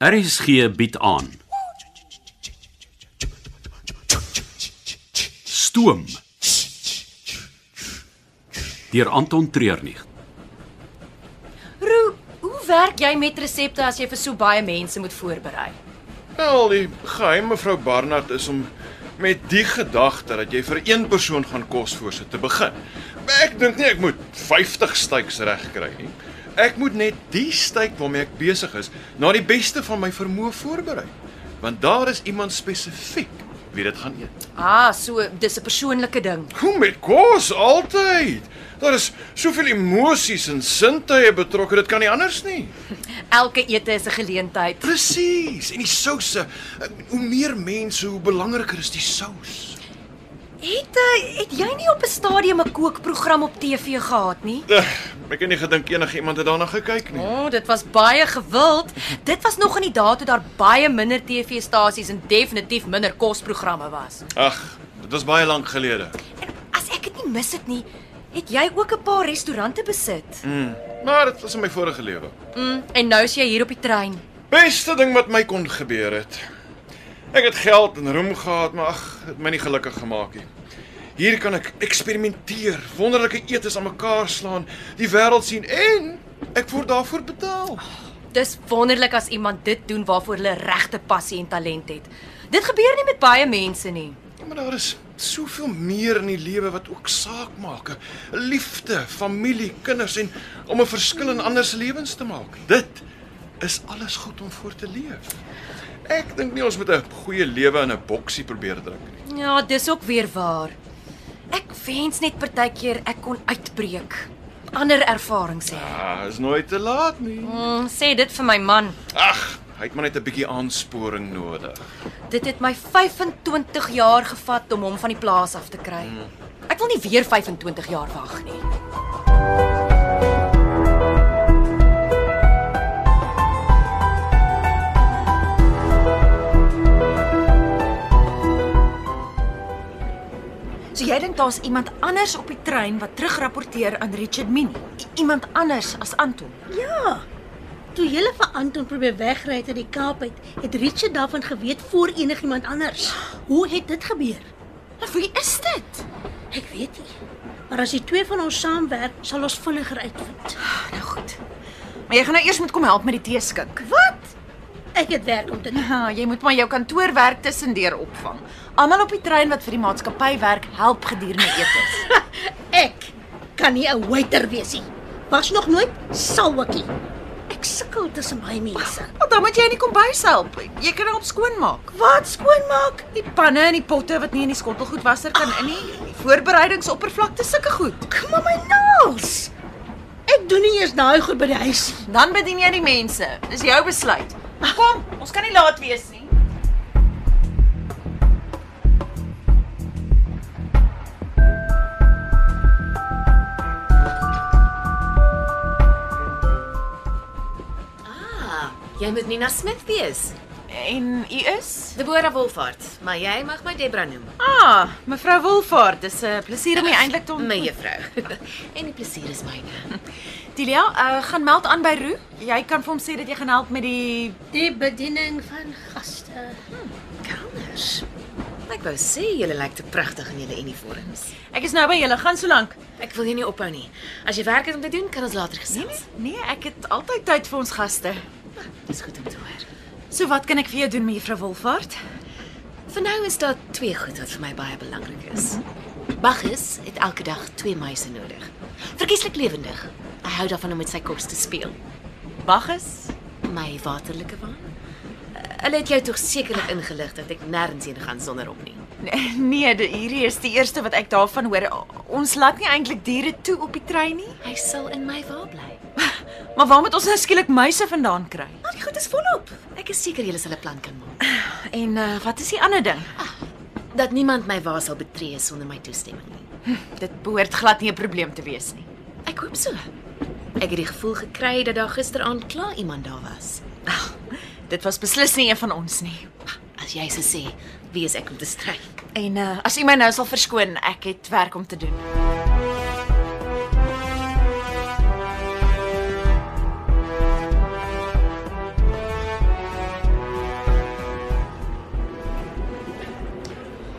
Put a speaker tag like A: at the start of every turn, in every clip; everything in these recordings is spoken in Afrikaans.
A: RSG bied aan. Stoom. Deur Anton Treurnig.
B: Roo, hoe werk jy met resepte as jy vir so baie mense moet voorberei?
C: Wel, die geheim mevrou Barnard is om met die gedagte dat jy vir een persoon gaan kos voorsit te begin. Ek dink nie ek moet 50 steaks reg kry nie. Ek moet net die steak waarmee ek besig is, na die beste van my vermoë voorberei. Want daar is iemand spesifiek wie dit gaan eet.
B: Ah, so dis 'n persoonlike ding.
C: Hoe met kos altyd. Daar is soveel emosies en sintuie betrokke, dit kan nie anders nie.
B: Elke ete is 'n geleentheid.
C: Presies. En die sousse, hoe meer mense, hoe belangriker is die sous.
B: Het eh, het jy nie op 'n stadium 'n kookprogram op TV gehad nie?
C: Uh, ek het nie gedink enige iemand het daarna gekyk
B: O,
C: nie.
B: oh, dit was baie gewild. Dit was nog in die dae toe daar baie minder TV-stasies en definitief minder kosprogramme was.
C: Ag, dit was baie lank gelede.
B: En as ek dit nie mis het nie, het jy ook 'n paar restaurante besit.
C: Maar dit was in my vorige lewe.
B: Mm, en nou is jy hier op die trein.
C: Beste ding wat my kon gebeur het. Ek het geld en roem gehad, maar ag, dit het my nie gelukkig gemaak nie. Hier kan ek eksperimenteer, wonderlike etes aan mekaar slaan, die wêreld sien en ek word daarvoor betaal.
B: Dis wonderlik as iemand dit doen waarvoor hulle regte passie en talent het. Dit gebeur nie met baie mense nie.
C: Ja, Maar daar is soveel meer in die lewe wat ook saak maak. Liefde, familie, kinders en om 'n verskil in ander se lewens te maak. Dit is alles goed om voor te leef. Ek dink nie ons moet 'n goeie lewe in 'n boksie probeer druk nie.
B: Ja, dis ook weer waar. Ek wens net partykeer ek kon uitbreek. Ander ervarings hê.
C: Ah, is nooit te laat nie.
B: Mm, sê dit vir my man.
C: Ag, hy het maar net 'n bietjie aansporing nodig.
B: Dit het my 25 jaar gevat om hom van die plaas af te kry. Ek wil nie weer 25 jaar wag nie.
D: So jy dink daar's iemand anders op die trein wat terugrapporteer aan Richard Minnie? Iemand anders as Anton?
E: Ja. Toe julle vir Anton probeer wegry uit die Kaap uit, het Richard daarvan geweet voor enigiemand anders. Hoe het dit gebeur?
D: Maar wie is dit?
E: Ek weet nie. Maar as die twee van ons saamwerk, sal ons vinniger uitvind.
D: Nou goed. Maar jy gaan nou eers moet kom help met die teeskink.
E: Wat? Ek het werk om te doen.
D: Ja, jy moet maar jou kantoorwerk tussendeur opvang. Almal op die trein wat vir die maatskappy werk, help gedurende etes.
E: Ek kan nie 'n waiter wees nie. Was nog nooit sal ook nie. Ek sukkel tussen baie mense.
D: Wel, dan moet jy in die kombuis help. Jy kan help skoonmaak.
E: Wat skoonmaak?
D: Die panne en die potte wat nie in die skottelgoedwasser kan in nie. Die voorbereidingsoppervlakte sulke goed.
E: Kom aan my naels. Ek doen nie eers daai goed by die huis nie.
D: Dan bedien jy die mense. Dis jou besluit. Kom, ons kan nie laat wees nie.
F: Ah, Jy moet Nina Smith wees.
D: En u is?
F: Deborah Wolfhard, maar jy mag my Debra noem.
D: Ah, mevrou Wilford, dis 'n plesier om u eintlik te
F: My
D: ontmoet.
F: juffrou. en die plesier is myne.
D: Delia, uh, gaan meld aan by Roo. Jy kan vir hom sê dat jy gaan help met die
E: Die bediening van gaste.
F: Kalmers. Ek wou sê julle lyk te pragtig in julle uniforms.
D: Ek is nou by julle, gaan so lank.
F: Ek wil jou nie ophou nie. As jy werk het om te doen, kan ons later gesels.
D: Nee, ek het altyd tyd vir ons gaste.
F: nee, Dis goed om te hoor.
D: So wat kan ek vir jou doen, mevrou Wilford?
F: Vir nou is daar twee goed wat vir my baie belangrik is. Bagus het elke dag twee meise nodig. Verkieslik lewendig. Hy hou daarvan om met sy kos te speel.
D: Bagges?
F: My waterlike waan. Eh, Hulle het jou tog sekerlik ingelig dat ek nêrens heen gaan sonder hom nie.
D: Nee, nee, die- hierdie is die eerste wat ek daarvan hoor. O- Ons laat nie eintlik diere toe op die trein nie.
F: Hy sal in my wa bly.
D: Maar waar moet ons nou skielik muise vandaan kry?
F: Maar die goed is volop. Ek is seker julle sal 'n plan kan maak.
D: En uh, wat is die ander ding?
F: Dat niemand my wa sal betree sonder my toestemming nie.
D: Dit behoort glad nie 'n probleem te wees nie.
F: Ek hoop so. Ek het die gevoel gekry dat daar gisteraand klaar iemand daar was.
D: Ag, dit was beslis nie een van ons nie.
F: As jy so sê, wie is ek om te stry?
D: En uh, as u my nou sal verskoon, ek het werk om te doen.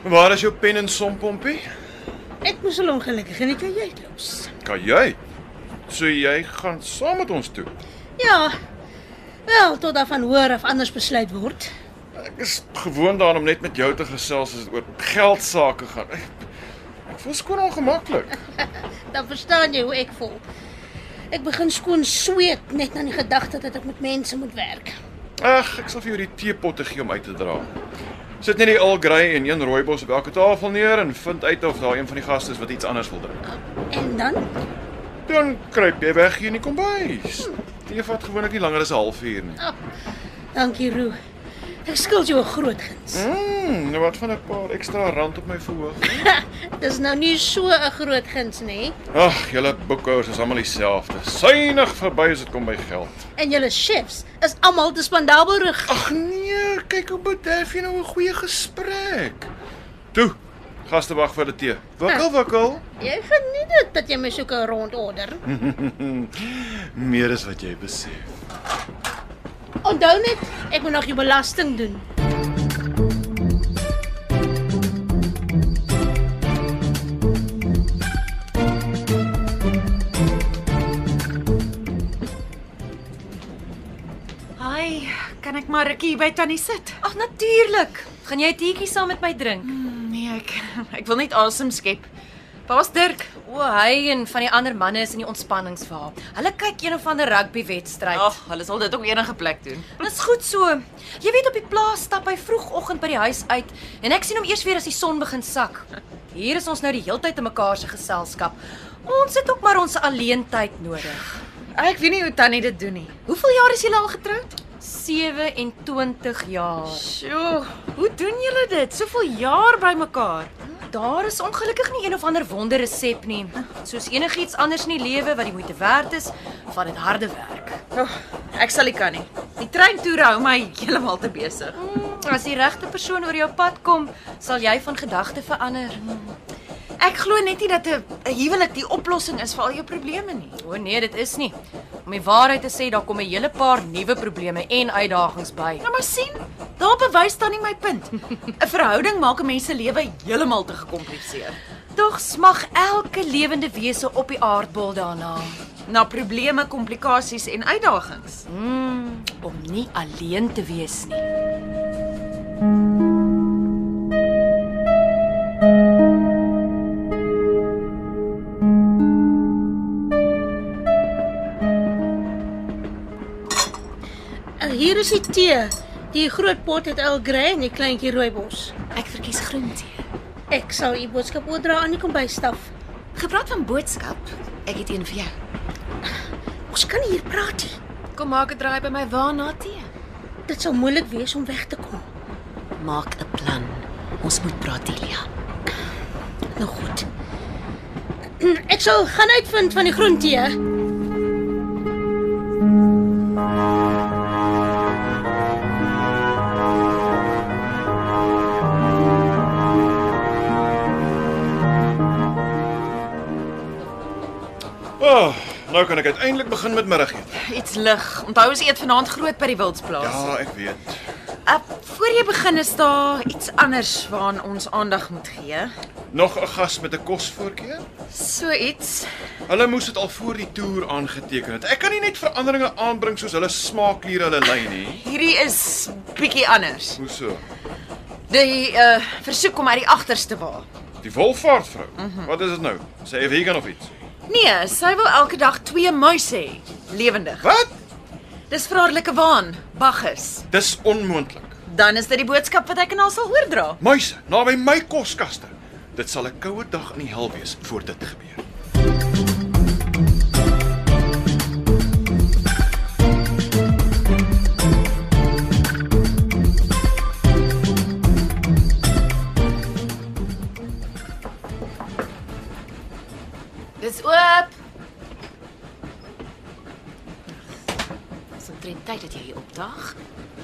C: waar is jou pen en sompompie?
E: Ek moes al ongelukkig in die kajuit los.
C: Kan jy? So jy gaan saam met ons toe.
E: Ja. Wel, tot daarvan hoor of anders besluit word.
C: Ek is gewoond daaraan om net met jou te gesels as dit oor geld sake gaan. Ek, ek voel skoon ongemaklik.
E: Dan verstaan jy hoe ek voel. Ek begin skoon sweet net aan die gedagte dat ek met mense moet werk.
C: Ag, ek sal vir jou die teepotte gee om uit te dra. Sit net die Earl Grey en een rooibos op elke tafel neer en vind uit of daar een van die gaste is wat iets anders wil drink.
E: En dan
C: Dan kruip jy weg hier in die kombuis. Tee vat gewoonlik nie langer as 'n halfuur nie.
E: Dankie, Roo. Ek skuld jou 'n groot guns.
C: Mm, nou wat van 'n paar ekstra rand op my verhoog?
E: Dis nou nie so 'n groot guns nie.
C: Ag, julle boekhouers is almal dieselfde. Suinig verby as dit kom by geld.
E: En julle chefs is almal te spandabel rig.
C: Ag nee, kyk hoe bederf jy nou 'n goeie gesprek. Toe, gaste wag vir die tee. Wikkel, wikkel.
E: Jy geniet dit dat jy my soeke rond order.
C: Meer is wat jy besef.
E: Onthou net, ek moet nog jou belasting doen.
D: Ai, kan ek maar rukkie hier by tannie sit?
B: Ag natuurlik. Gaan jy 'n teetjie saam met my drink?
D: Nee, ek ek wil net asem skep. Waar's Dirk?
B: O, hy en van die ander manne is in die ontspanningsverhaal. Hulle kyk een of ander rugbywedstryd.
D: Ag, hulle sal dit op enige plek doen.
B: Dis goed so. Jy weet op die plaas stap hy vroegoggend by die huis uit en ek sien hom eers weer as die son begin sak. Hier is ons nou die heeltyd in mekaar se geselskap. Ons het ook maar ons alleentyd nodig.
D: Ek weet nie hoe tannie dit doen nie.
B: Hoeveel jaar is julle al getroud? 27 jaar.
D: Sjoe, hoe doen julle dit? Soveel jaar by mekaar.
B: Daar is ongelukkig nie een of ander wonderresep nie. Soos enigiets anders in die lewe wat die moeite werd is van dit harde werk.
D: Oh, ek sal nie kan nie. Die treintoer hou my heeltemal te besig.
B: As die regte persoon oor jou pad kom, sal jy van gedagte verander.
D: Ek glo net nie dat 'n 'n huwelik die oplossing is vir al jou probleme nie.
B: O nee, dit is nie. Om die waarheid te sê, daar kom 'n hele paar nuwe probleme en uitdagings by.
D: Nou maar sien, daar bewys tannie my punt. 'n Verhouding maak 'n mens se lewe heeltemal te gekompliseer.
B: Tog smag elke lewende wese op die aardbol daarna
D: Na probleme, komplikasies en uitdagings.
B: om nie alleen te wees nie.
E: En hier is die tee. Die groot pot het al grey en die kleintjie rooibos.
F: Ek verkies groen tee.
E: Ek sal u boodskap oordra aan die kombuisstaf.
F: Gepraat van boodskap, ek het een vir jou.
E: Ons kan nie hier praat nie.
F: Kom maak 'n draai by my wa na tee.
E: Dit sal moeilik wees om weg te kom.
F: Maak 'n plan. Ons moet praat, Elia.
E: Nou goed. Ek sal gaan uitvind van die groen tee.
C: Oh, nou kan ek uiteindelik begin met middagete.
D: Iets lig. Onthou ons eet vanaand groot by die Wildsplaas.
C: Ja, ek weet.
D: Uh, voor jy begin is daar iets anders waaraan ons aandag moet gee.
C: Nog 'n gas met 'n kosvoorkeur?
D: So iets.
C: Hulle moes dit al voor die toer aangeteken het. Ek kan nie net veranderinge aanbring soos hulle smaakliere hulle lei nie.
D: Hierdie is bietjie anders.
C: Hoe so?
D: Die uh versoek om uit die agterste wa.
C: Die wolvaartvrou. Mm -hmm. Wat is dit nou? Sy is vegan of iets?
D: Nee, sy wil elke dag twee muise hê, lewendig.
C: Wat?
D: Dis vir haar lekker waan, baggies.
C: Dis onmoontlik.
D: Dan is dit die boodskap wat ek aan haar sal oordra.
C: Muise, naby my koskaste. Dit sal 'n koue dag in die hel wees voor dit gebeur.
F: Dis oop. Dis omtrent tyd dat jy hier opdaag.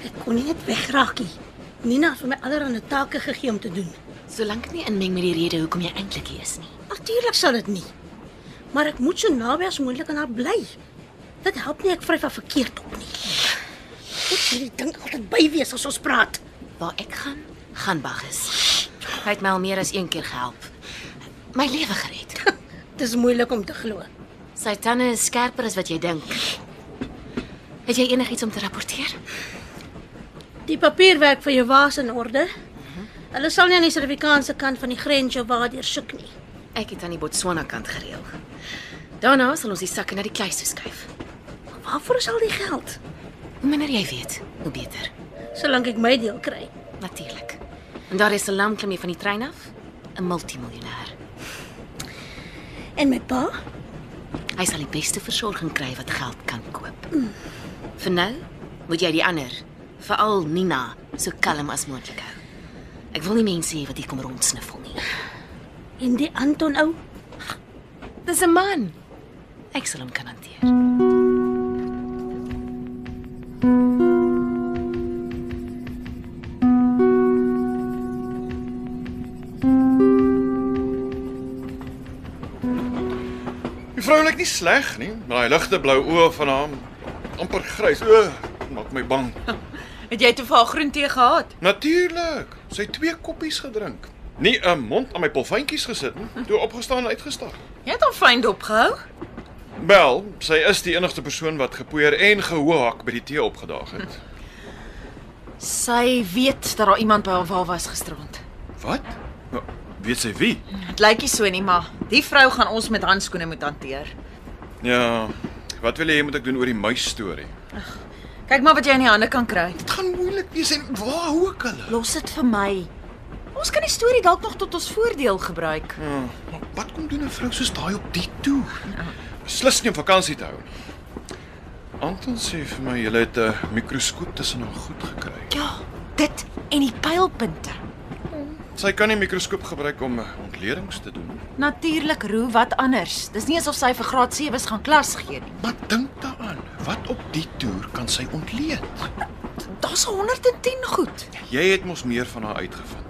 E: Ek kon nie net wegraak nie. Nina het vir my allerlei take gegee om te doen.
F: Solank ek nie inmeng met die rede hoekom jy eintlik hier is nie.
E: Natuurlik sal dit nie. Maar ek moet so naby as moontlik aan haar bly. Dit help nie ek vryf van verkeerd op nie. Ek sien die ding altyd by wees as ons praat.
F: Waar ek gaan, gaan Bagges. Hy het my al meer as een keer gehelp. My lewe gered.
E: Dis moeilik om te glo.
F: Sy tande is skerper as wat jy dink. Het jy enigiets om te rapporteer?
E: Die papierwerk vir jou was in orde. Hulle sal nie aan die Suid-Afrikaanse kant van die grens jou waardeur soek nie.
F: Ek het aan die Botswana kant gereël. Daarna sal ons die sakke na die kluis toe skuif.
E: Waarvoor is al die geld?
F: Hoe minder jy weet, hoe beter.
E: Solank ek my deel kry.
F: Natuurlik. En daar is 'n lam klim jy van die trein af, 'n multimiljonair.
E: En my pa?
F: Hy sal die beste versorging kry wat geld kan koop. Vir nou moet jy die ander, veral Nina, so kalm as moontlik hou. Ek wil nie mense hê wat hier kom rondsniffel nie.
E: En die Anton ou?
F: Dis 'n man. Ek sal hom kan hanteer.
C: Die vrou lyk nie sleg nie, maar daai ligte blou oë van haar amper grys. O, maak my bang.
B: Het jy toe vir haar groen tee gehad?
C: Natuurlik. Sy het twee koppies gedrink. Nie 'n mond aan my polfyntjies gesit nie. Toe opgestaan en uitgestap.
B: Jy het hom fyn dopgehou.
C: Wel, sy is die enigste persoon wat gepoeier en gehoehak by die tee opgedaag het.
D: Sy weet dat daar iemand by haar wa was gisterand.
C: Wat? Nou, weet sy wie?
G: Dit lyk nie so nie, maar die vrou gaan ons met handskoene moet hanteer.
C: Ja. Wat wil jy moet ek doen oor die muis storie?
G: Kyk maar wat jy in die hande kan kry.
C: Dit gaan moeilik wees en waar hou ek hulle?
D: Los dit vir my.
G: Ons kan die storie dalk nog tot ons voordeel gebruik.
C: Ja, maar wat kom doen 'n vrou soos daai op die toer? Beslis nie om vakansie te hou nie. Anton sê vir my jy het 'n mikroskoop tussen haar goed gekry.
D: Ja, dit en die pylpunte.
C: Sy kan nie mikroskoop gebruik om eh, ontledings te doen nie.
D: Natuurlik, Roo, wat anders? Dis nie asof sy vir graad 7's gaan klas gee nie.
C: Maar dink daaraan, wat op die toer kan sy ontleed?
D: Daar's 110 goed.
C: Jy het mos meer van haar uitgevind.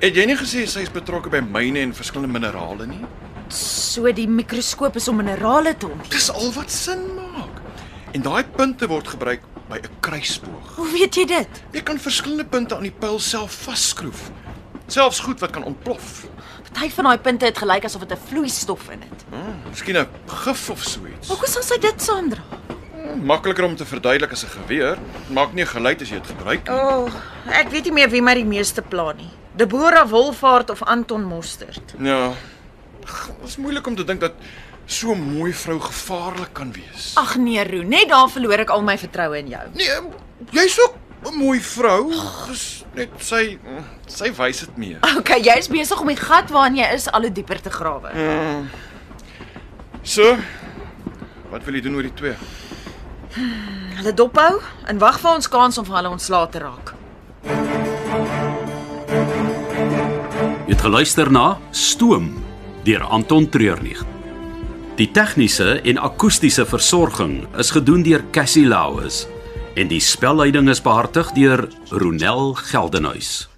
C: Het jy nie gesê sy is betrokke by myne en verskillende minerale nie?
D: So die mikroskoop is om minerale te ontdek.
C: Dis al wat sin maak. En daai punte word gebruik by 'n kruisboog.
D: Hoe weet jy dit?
C: Jy kan verskillende punte aan die pyl self vasskroef. Selfs goed wat kan ontplof.
D: Party van daai punte het gelyk asof dit 'n vloeistof in het.
C: Hmm, miskien 'n gif of so iets.
D: Hoekom sal sy dit saamdra?
C: Hmm, Makliker om te verduidelik as 'n geweer. Maak nie 'n geluid as jy dit gebruik nie.
G: O, oh, ek weet nie meer wie my die meeste pla nie. Debora Wolfaart of Anton Mostert.
C: Ja. Dit is moeilik om te dink dat so 'n mooi vrou gevaarlik kan wees.
D: Ag nee, Roo, net daar verloor ek al my vertroue in jou.
C: Nee, jy's ook 'n mooi vrou. Dis net sy hm, sy wys dit mee.
D: Okay, jy's besig om die gat waarin jy is al hoe dieper te grawe.
C: So, wat wil jy doen oor die twee?
G: Hulle dophou en wag vir ons kans om van hulle ontslae te raak.
A: Jy het geluister na Stoom deur Anton Treurnig. Die tegniese en akoestiese versorging is gedoen deur Cassie Lauis en die spelleiding is behartig deur Ronel Geldenhuys.